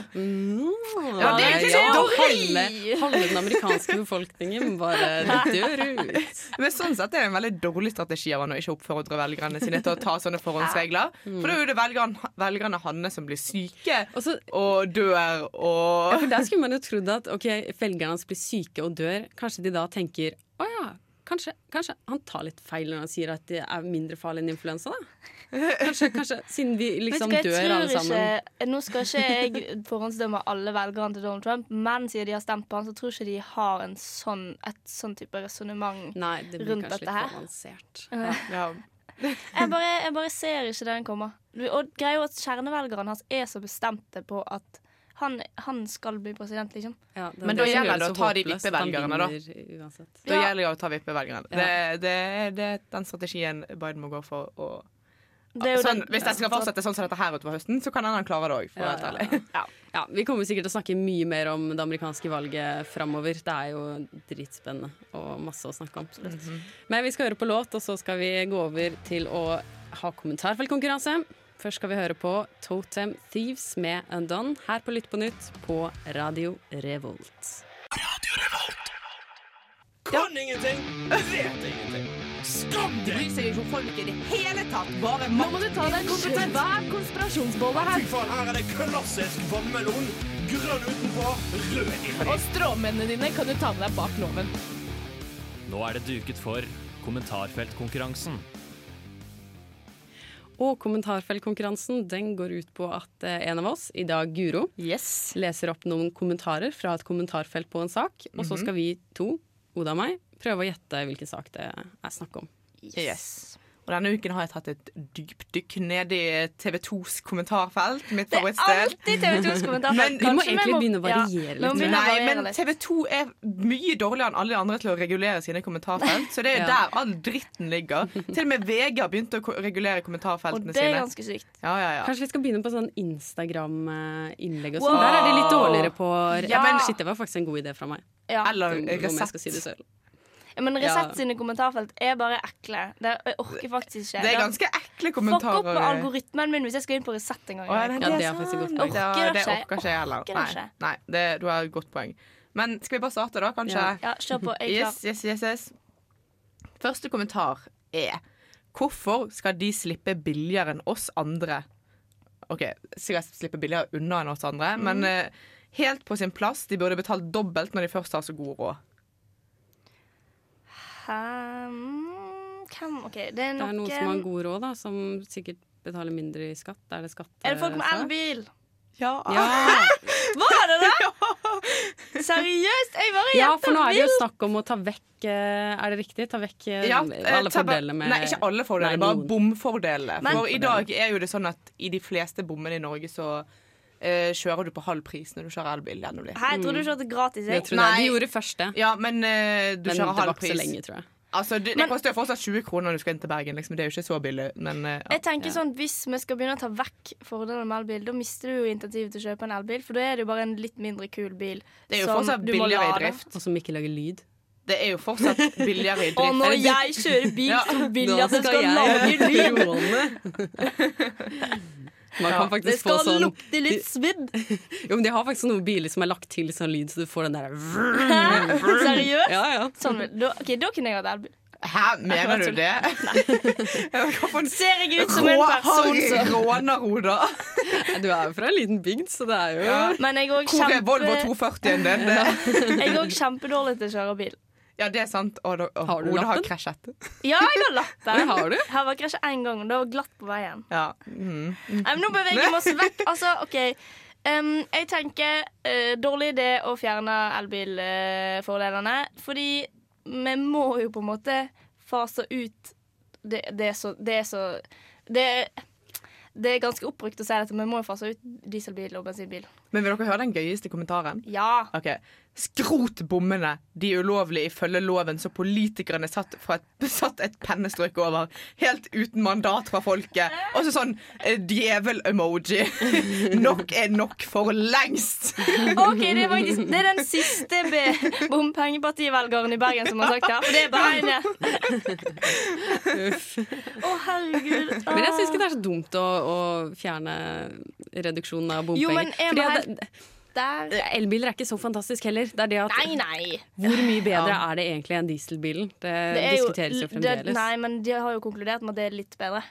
S8: Ja, det er ikke så
S6: Ja,
S8: dårlig.
S6: halve, halve den amerikanske befolkningen bare dør ut.
S8: Men sånn sett er det en veldig dårlig strategi av han å ikke oppfordre velgerne sine til å ta sånne forhåndsregler. For da er jo det velgerne, velgerne hans som blir syke
S6: Og så
S8: og dør og
S6: For der skulle man jo trodd at ok, velgerne hans blir syke og dør. Kanskje de da tenker å ja, kanskje, kanskje han tar litt feil når han sier at det er mindre farlig enn influensa, da. Kanskje, kanskje siden vi liksom
S7: Vet du hva, jeg
S6: dør alle
S7: tror
S6: sammen.
S7: Ikke, nå skal ikke jeg forhåndsdømme alle velgerne til Donald Trump, men siden de har stemt på han, så tror ikke de har en sånn, et sånn type resonnement.
S6: Nei, det blir
S7: rundt
S6: kanskje
S7: dette
S6: litt
S7: her.
S6: avansert. Ja.
S8: ja.
S7: Jeg bare, jeg bare ser ikke den komme. Og greia er jo at kjernevelgerne hans er så bestemte på at han, han skal bli president, liksom.
S6: Ja, det er
S8: Men da
S6: som
S8: gjelder det
S6: gjør
S8: å
S6: så
S8: ta de
S6: håpløst at han
S8: vippevelgerne, da.
S6: vinner uansett.
S8: Da
S7: Ja.
S8: gjelder det å ta vippevelgerne. Det, det, det er den strategien Biden må gå for. Og,
S7: Det er jo
S8: sånn,
S7: den-
S8: hvis dette skal fortsette sånn som dette her utover høsten, så kan hende han klare det òg.
S6: Ja, ja, ja. Ja, vi kommer sikkert til å snakke mye mer om det amerikanske valget framover. Det er jo dritspennende og masse å snakke om. Men vi skal høre på låt, og så skal vi gå over til å ha kommentarfeltkonkurranse. Først skal vi høre på Totem Thieves med Undone her på Lytt på nytt på Radio Revolt.
S2: Kan ingenting, vet ingenting. Skam deg!
S8: seg ikke om folk i det hele tatt. Bare makt.
S2: Fy faen, her er det klassisk vannmelon. Grønn utenpå, rød inni.
S9: Nå er det duket for kommentarfeltkonkurransen.
S6: Og kommentarfeltkonkurransen den går ut på at eh, en av oss, i dag Guro, leser opp noen kommentarer fra et kommentarfelt på en sak. Og så skal vi to, Oda og meg, prøve å gjette hvilken sak det er snakk om.
S8: Yes. Og Og denne uken har jeg tatt et dypdykk ned i TV 2s kommentarfelt, mitt
S7: Det er
S8: favorittsted.
S7: alltid TV 2s kommentar.
S8: Men-
S6: Vi må egentlig begynne å variere
S7: vi må
S6: litt.
S7: begynne å
S8: Nei,
S7: variere
S8: men
S7: litt.
S8: TV 2 er mye dårligere enn alle de andre til å regulere sine kommentarfelt. Så det er jo
S6: Ja.
S8: der all dritten ligger. Til og med VG har begynt å ko- regulere
S7: Og
S8: kommentarfeltene
S7: det er
S8: sine.
S7: ganske sykt.
S8: Ja, ja, ja.
S6: Kanskje vi skal begynne på sånn Instagram-innlegg og
S7: Wow!
S6: sånn. Der er de litt dårligere på
S8: Ja, men-
S6: Shit, det var faktisk en god idé fra meg.
S7: Ja.
S8: Eller
S6: Om om jeg skal
S8: Resett.
S6: si det selv.
S7: Ja, Men
S6: Ja.
S7: Resett sine kommentarfelt er bare ekle. Det jeg orker faktisk ikke.
S8: Det er ganske ekle
S7: Fuck opp med
S8: kommentarer.
S7: algoritmen min hvis jeg skal inn på Resett en gang.
S8: Å, ja,
S6: Ja, det er faktisk et godt
S8: sant.
S6: poeng.
S8: Det,
S7: Orker
S8: det
S7: ikke.
S8: orker ikke jeg heller.
S7: Orker
S8: Nei,
S7: ikke.
S8: nei det, du har et godt poeng. Men skal vi bare starte, da, kanskje?
S6: Ja.
S7: Ja, kjør på. Jeg er klar.
S8: Yes, yes, yes, yes. Første kommentar er Hvorfor skal de slippe billigere enn oss andre? OK, sikkert slippe billigere unna enn oss andre, men eh, helt på sin plass. De burde betalt dobbelt når de først har så god råd.
S7: Ehm, Hvem? OK, det er
S6: Det er
S7: noen
S6: noen som har god råd, da, som sikkert betaler mindre i skatt. Er det skatt? eh,
S7: Er det folk med elbil?
S8: Ja.
S6: Ja.
S7: Var det det? Seriøst? Jeg bare
S6: ja,
S7: gjetter
S6: for nå er det jo
S7: vilt.
S6: snakk om å ta vekk eh, Er det riktig? Ta vekk
S8: eh,
S6: eh, alle
S8: ta bare-
S6: fordelene med
S8: Nei, ikke alle fordelene,
S6: Nei,
S8: bare
S6: noen.
S8: bomfordelene.
S7: Men-
S8: For i dag er jo det sånn at i de fleste bommene i Norge så eh, kjører du på halv pris når du kjører elbil gjennom de.
S7: Hæ, jeg trodde du kjørte gratis,
S6: Mm. Jeg
S7: jeg.
S6: tror
S8: Nei.
S6: det. De gjorde først det,
S8: Ja, men eh, du
S6: men det
S8: kjører
S6: var
S8: halv
S6: ikke
S8: pris.
S6: så lenge, tror jeg.
S8: Altså, det, det
S7: Men-
S8: koster jo fortsatt 20 kroner når du skal inn til Bergen. Liksom. Det er jo ikke så billig. Men eh, ja.
S7: Jeg tenker sånn, Hvis vi skal begynne å ta vekk fordelene med elbil, da mister du jo intentivet til å kjøpe en elbil, for da er det jo bare en litt mindre kul bil.
S8: det er jo
S7: som
S8: fortsatt
S7: du må
S8: billigere i
S7: lade.
S8: drift.
S6: Og som ikke lager lyd.
S8: Det er jo fortsatt billigere i drift.
S7: Og når
S8: Eller-
S7: jeg kjører bil,
S8: Ja,
S7: så vil
S6: nå
S7: jeg at den
S6: skal
S7: skal
S6: jeg-
S7: lage lyd!
S6: Krone. Man kan
S7: Det
S6: faktisk få
S7: skal
S6: sånn
S7: lukte litt svidd!
S6: Jo, men De har faktisk noen biler som er lagt til sånn lyd, så du får den der Mm.
S7: Hæ? Seriøst?
S6: Ja, ja.
S7: Sånn, vil- da, ok, da kunne jeg hatt elbil.
S8: Hæ, mener du det? Hvorfor
S7: Ser jeg ut som en person som
S8: råner hun, da?
S6: Du er jo fra en liten bygd, så det er jo
S7: Men jeg er òg
S8: Hvor er Volvo
S7: kjempe,
S8: 240-en din? Det-
S7: jeg er også kjempedårlig til å kjøre bil.
S8: Ja, det er sant. Og, da- og
S6: Har du
S8: Oda har
S6: lappen?
S8: krasjet.
S7: Ja, jeg har lappen.
S6: Det har du.
S7: Her var krasjet én gang, og det var glatt på veien.
S8: Ja. Mm.
S7: Nei, men nå beveger vi oss vekk. Altså, OK. Em, jeg tenker eh, dårlig idé å fjerne elbilfordelene, fordi vi må jo på en måte fase ut det, det er så Det er så det, det er ganske oppbrukt å si dette, men vi må jo fase ut dieselbil og bensinbil.
S8: Men vil dere høre den gøyeste kommentaren?
S7: Ja.
S8: Ok, Skrot bommene! De er ulovlige ifølge loven som politikerne satt, fra et, satt et pennestrøk over. Helt uten mandat fra folket. Og så sånn eh, djevel-emoji. Nok er nok for lengst!
S7: OK, det er faktisk Det er den siste be- bompengepartivelgeren i Bergen som har sagt det. For det er bare en Å, herregud. Ah.
S6: Men jeg syns ikke det er så dumt å, å fjerne reduksjonen av
S7: Jo,
S6: bompenger.
S7: men er
S6: Fordi
S7: man
S6: at det-
S7: Der.
S6: Elbiler er ikke så fantastisk heller. Det er det at
S7: Nei, nei.
S6: Hvor mye bedre er det egentlig enn dieselbilen? Det, diskuteres jo fremdeles.
S7: Det, nei, men de har jo konkludert med at det er litt bedre.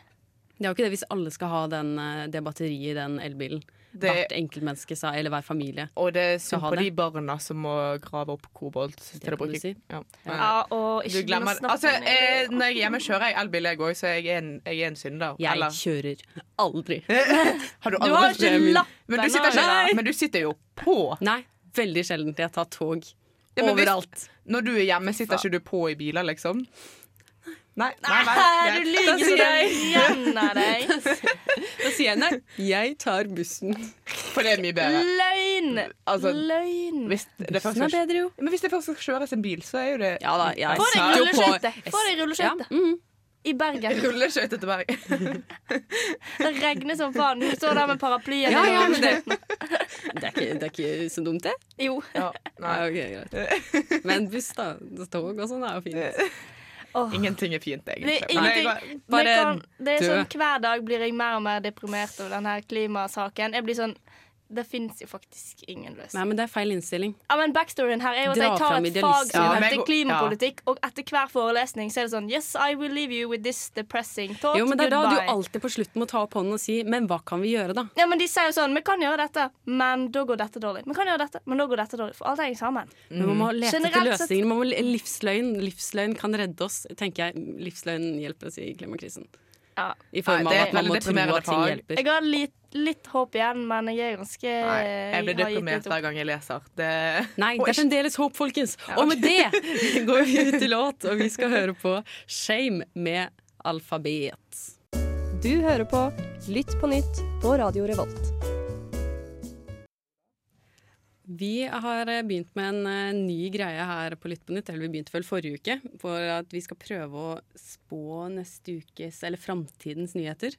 S6: Det er jo ikke det hvis alle skal ha den, eh, det batteriet i den elbilen.
S8: Det-
S6: Hvert enkeltmenneske sa, eller hver familie.
S8: Og det er synd
S6: ha
S8: på
S6: det.
S8: de barna som må grave opp kobolt. til
S6: kan
S8: å bruke-
S6: du si.
S8: Ja.
S7: Ja, og
S8: Du
S7: ikke begynne å
S8: glemmer
S7: snakke
S8: Altså,
S7: om det.
S8: eh, når jeg er hjemme, kjører jeg elbil, jeg òg, så jeg er en, jeg er en synder.
S6: Jeg
S8: Eller-
S6: kjører aldri.
S8: har du
S7: Du har
S8: aldri
S7: ikke lappen,
S8: men du, sitter
S6: nei.
S8: ikke, men du sitter jo på.
S6: Nei, veldig sjelden. Jeg tar tog
S8: Ja, men hvis-
S6: overalt.
S8: Når du er hjemme, sitter ikke du på i biler, liksom? Nei. nei,
S7: Hæ,
S8: greit.
S7: du lyver så det renner deg.
S6: Da sier jeg nei, jeg tar bussen.
S8: For det er mye bedre.
S7: Løgn!
S8: Altså,
S7: Løgn.
S8: Hvis det først
S6: Bussen Sånn er
S8: skal,
S6: bedre, jo.
S8: men hvis det først skal kjøres en bil, så er jo det
S6: Ja da, jeg
S7: Få
S6: satt jo
S7: deg
S6: på-
S7: rulleskøyte! Få deg
S6: Ja,
S7: rulleskøyte
S6: mm.
S7: i Bergen.
S8: Rulleskøyter til Bergen.
S7: Det regner som faen. Du står der med paraplyen.
S6: ja,
S7: din
S6: ja,
S7: og-
S6: men det, det, er ikke, det er ikke så dumt, det.
S7: Jo.
S8: Ja,
S6: Nei.
S8: nei.
S6: greit. Men buss, da. Tog og sånn er jo fint.
S7: Åh.
S8: Ingenting er fint,
S7: Det
S8: egentlig.
S7: er
S8: Nei,
S7: ingenting.
S6: Bare
S7: det, kan, det er
S6: dø.
S7: sånn, hver dag blir jeg mer og mer deprimert over denne klimasaken. Jeg blir sånn Det fins jo faktisk ingen løsning.
S6: Nei, men det er feil innstilling.
S7: Ja, men Backstoryen her er jo at
S6: Dra
S7: jeg tar
S6: fram
S7: et
S6: idealisme.
S7: fag som
S8: Ja, men jeg
S7: heter
S8: går-
S7: klimapolitikk, og etter hver forelesning så er det sånn Yes, I will leave you with this depressing thought.
S6: Jo, men det er da
S7: Goodbye.
S6: du alltid på slutten må ta opp hånden og si 'men hva kan vi gjøre', da?
S7: ja, men De sier jo sånn Vi kan gjøre dette, men da går dette dårlig. Vi kan gjøre dette, men da går dette dårlig. For alt henger sammen.
S6: Men man må lete etter
S7: Generelt sett-
S6: løsninger. Man må le- livsløgn. Livsløgn kan redde oss, tenker jeg. Livsløgn hjelper oss i klimakrisen.
S7: Ja.
S6: I
S8: Nei,
S6: form av
S8: det er
S6: at man
S8: veldig
S6: må tro
S8: deprimerende
S6: at ting
S8: fag.
S6: hjelper.
S7: Jeg har litt, litt håp igjen, men jeg er ganske
S8: Nei, jeg blir
S7: har gitt litt
S8: deprimert
S7: opp.
S8: hver gang jeg leser. Det...
S6: Nei, det er fremdeles håp, folkens! Og med det går vi ut i låt, og vi skal høre på Shame med alfabet.
S11: Du hører på Lytt på nytt på Radio Revolt.
S6: Vi har eh, begynt med en eh, ny greie her på Lytt på nytt, eller vi begynte vel forrige uke, for at vi skal prøve å spå neste ukes, eller framtidens nyheter.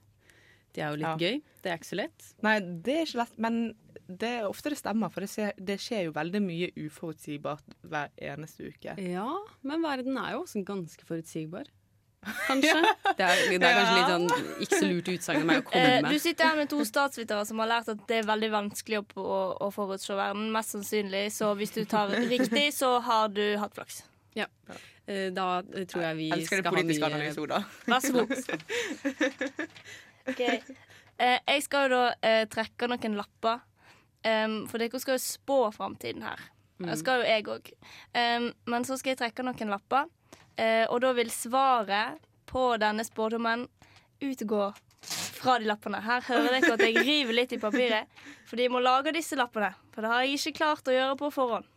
S6: Det er jo litt
S8: Ja.
S6: gøy. Det er ikke så lett.
S8: Nei, det er ikke lett, men det er ofte det stemmer, for det skjer, det skjer jo veldig mye uforutsigbart hver eneste uke.
S6: Ja, men verden er jo også ganske forutsigbar. Kanskje. Det er, det er kanskje litt
S8: Ja.
S6: sånn ikke så lurt utsagn av meg å komme
S7: Eh,
S6: med.
S7: du sitter her med to statsvitere som har lært at det er veldig vanskelig å, å, å forutse verden. Mest sannsynlig. Så hvis du tar riktig, så har du hatt flaks.
S6: Ja. Eh, Da tror jeg vi
S8: Jeg elsker
S6: skal
S8: det
S6: ha
S8: politiske
S6: mye
S8: analyser, da.
S7: Vær så god. Ok. Eh, jeg skal jo da eh, trekke noen lapper. Em, for dere skal jo spå framtiden her.
S8: Mm.
S7: Det skal jo jeg òg. men så skal jeg trekke noen lapper. Eh, og da vil svaret på denne spådommen utgå fra de lappene. Her hører dere at jeg river litt i papiret, for de må lage disse lappene. For det har jeg ikke klart å gjøre på forhånd.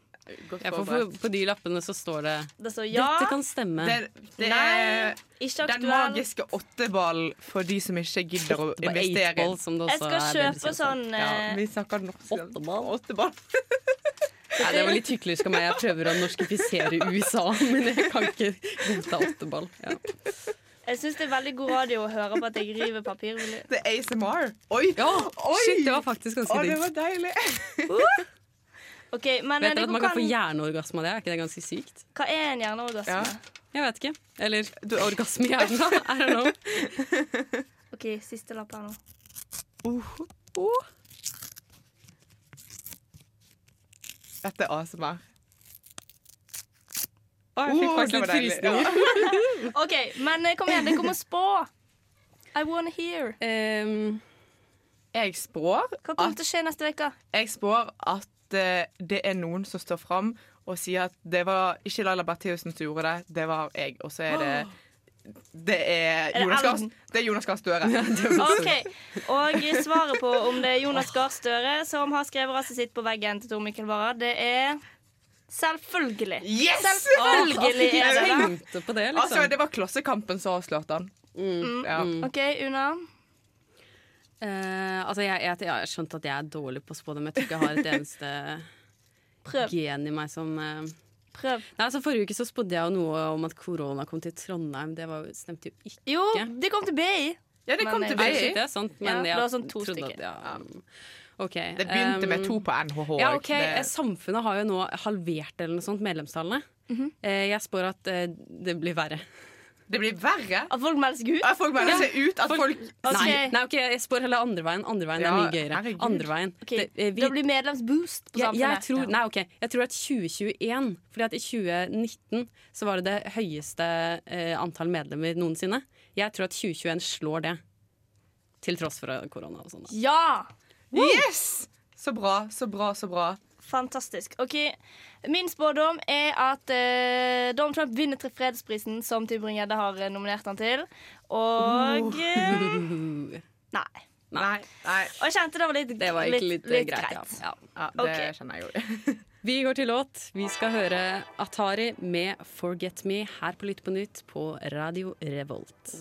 S8: Godt
S6: ja, for på,
S8: forberedt.
S6: på de lappene så står det
S7: Det står ja,
S6: Dette kan stemme.
S8: Det, det
S7: nei,
S8: er
S7: ikke
S8: den
S7: aktuell.
S8: magiske åtteballen for de som ikke gidder å
S6: Det var
S8: investere.
S6: eightball, som det
S7: Jeg
S8: Altså,
S6: også er det
S7: skal
S6: dere
S7: kjøpe
S6: sier.
S7: sånn
S8: liksom- Ja,
S7: eh,
S8: vi snakker norsk.
S6: Åtteball.
S8: Åtteball.
S6: Nei, det var litt hyklersk av meg. Jeg prøver å norskifisere USA, men jeg kan ikke godta åtteball. Ja.
S7: Jeg syns det er veldig god radio å høre på at jeg river papir. Vil-
S8: Det er ASMR. Oi!
S6: ja,
S8: Oi!
S6: shit, det var faktisk
S8: Å,
S6: ganske
S8: det
S6: digg.
S8: var deilig.
S7: Ok, men eh,
S6: Vet dere at
S7: dere
S6: man kan
S7: kan,
S6: få hjerneorgasme av det? Er ikke det ganske sykt?
S7: Hva er en hjerneorgasme?
S8: Ja.
S6: Jeg vet ikke. Eller du, orgasme i hjernen, da. I don't know.
S7: OK, siste lapp her nå.
S8: Dette er ASMR.
S6: Å, jeg fikk
S8: Å,
S6: faktisk
S8: Oh, det var
S6: litt
S8: deilig.
S6: frysninger. Mm.
S7: OK, men eh, kom igjen, dere må spå. I wanna hear.
S6: Ehm,
S8: Jeg spår
S7: Hva
S6: Ah.
S7: kommer
S8: at,
S7: til å skje neste uke?
S8: jeg spår at eh, det er noen som står fram og sier at det var ikke Laila Bertheussen som gjorde det, det var jeg. Og så er det det er
S7: det
S8: Jonas Gahr
S7: Ellen?
S8: det er Jonas Gahr Støre.
S7: OK. Og svaret på om det er Jonas Gahr Støre som har skrevet rasset sitt på veggen til Tor Mikkel Wara, det er Selvfølgelig.
S8: Yes!
S6: Ah,
S7: Selvfølgelig er det det.
S6: tenkte på det, liksom.
S8: Altså, det var Klassekampen som avslørte han. Ja.
S7: OK, Una.
S6: Eh, altså jeg, jeg, jeg har skjønt at jeg er dårlig på å spå det, men jeg tror ikke jeg har et eneste
S7: Prøv.
S6: gen i meg som eh.
S7: Prøv.
S6: Nei, altså Forrige uke så spådde jeg jo noe om at korona kom til Trondheim. Det var, jo- stemte jo ikke.
S7: Jo, det kom til BI.
S8: ja, det
S7: Men eh,
S8: kom
S7: jeg-
S8: til
S6: Nei, shit,
S8: BI.
S6: det er sant, men
S7: Ja,
S6: jeg
S7: det var sånn to
S6: trodde
S7: stykker.
S6: at ja. OK.
S8: Det begynte
S6: ehm,
S8: med to på NHH.
S6: Ja, ok,
S8: Det-
S6: eh, Samfunnet har jo nå halvert eller noe sånt medlemstallene.
S8: Mhm.
S6: Eh, jeg spår at eh, det blir verre.
S8: Det blir verre.
S7: At folk melder seg ut.
S8: At folk melder seg ut. At folk
S7: Ok.
S6: Nei, nei, ok, jeg spår heller andre veien. Andre veien er
S8: Ja,
S6: mye gøyere.
S8: herregud.
S6: Andre veien.
S7: Ok,
S6: Det- eh, vi-
S7: Da blir medlemsboost på
S6: Jeg,
S7: samfunnet.
S6: jeg, tror, nei, ok, jeg tror at 2021 Fordi at i 2019 så var det det høyeste eh, antall medlemmer noensinne. Jeg tror at 2021 slår det. Til tross for eh, korona og sånn. da.
S7: Ja!
S8: Yes! Så bra, så bra, så bra.
S7: Fantastisk. Ok, Min spådom er at eh, Donald Trump vinner tre fredsprisen som Tybring-Gjedde har eh, nominert han til. Og
S6: Uh.
S7: eh, Nei.
S8: Nei, nei.
S7: Og jeg kjente det var litt,
S6: Det var egentlig litt, eh, greit. Ja. Ja.
S8: Ja, det
S7: Ok.
S8: kjenner jeg jo.
S6: Vi går til låt. Vi skal høre Atari med 'Forget Me' her på Lytt på nytt på Radio Revolt.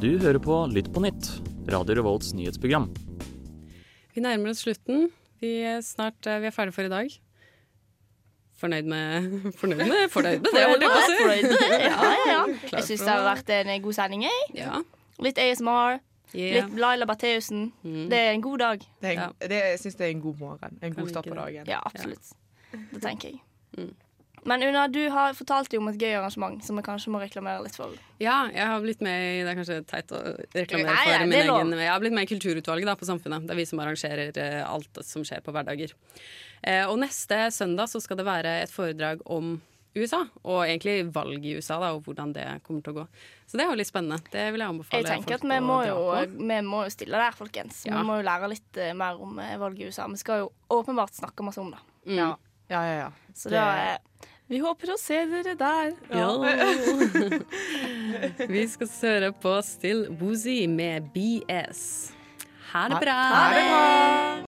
S9: Du hører på Lytt på nytt, Radio Revolts nyhetsprogram.
S6: Vi nærmer oss slutten. Vi er snart eh, vi er ferdige for i dag. Fornøyd med Fornøyd med, fornøyd med det, holdt jeg på å si.
S7: Ja, ja, ja. Jeg syns det har vært en god sending. Jeg.
S6: Ja.
S7: Litt ASMR,
S6: Yeah.
S7: litt Laila Bertheussen. Det er en god dag.
S8: Det er,
S6: Mm. Ja.
S8: en- det, jeg syns det er en god morgen. En god
S6: vi
S8: start
S6: ikke
S8: på
S6: det?
S8: dagen.
S7: Ja, absolutt. Det tenker jeg.
S6: Mm.
S7: Men Una, du har fortalt jo om et gøy arrangement som vi kanskje må reklamere litt for.
S6: Ja, jeg har blitt med i Det er kanskje teit å reklamere
S7: Nei,
S6: for
S7: nei,
S6: min
S7: det er lov.
S6: egen Jeg har blitt med i Kulturutvalget da, på Samfunnet. Det er vi som arrangerer eh, alt som skjer på hverdager. Eh, og neste søndag så skal det være et foredrag om USA, og egentlig valg i USA, da, og hvordan det kommer til å gå. Så det er jo litt spennende. Det vil jeg anbefale.
S7: Jeg
S6: folk
S7: tenker at vi
S6: å
S7: må,
S6: dra
S7: jo,
S6: på.
S7: vi må jo stille der, folkens.
S6: Ja.
S7: Vi må jo lære litt eh, mer om eh, valget i USA. Vi skal jo åpenbart snakke masse om det.
S6: Mm.
S8: Ja, ja, ja. ja.
S7: Så da eh, Vi håper å se dere der.
S6: Ja. vi skal høre på Still Woozy med BS. Ha det bra!
S8: Ha det bra!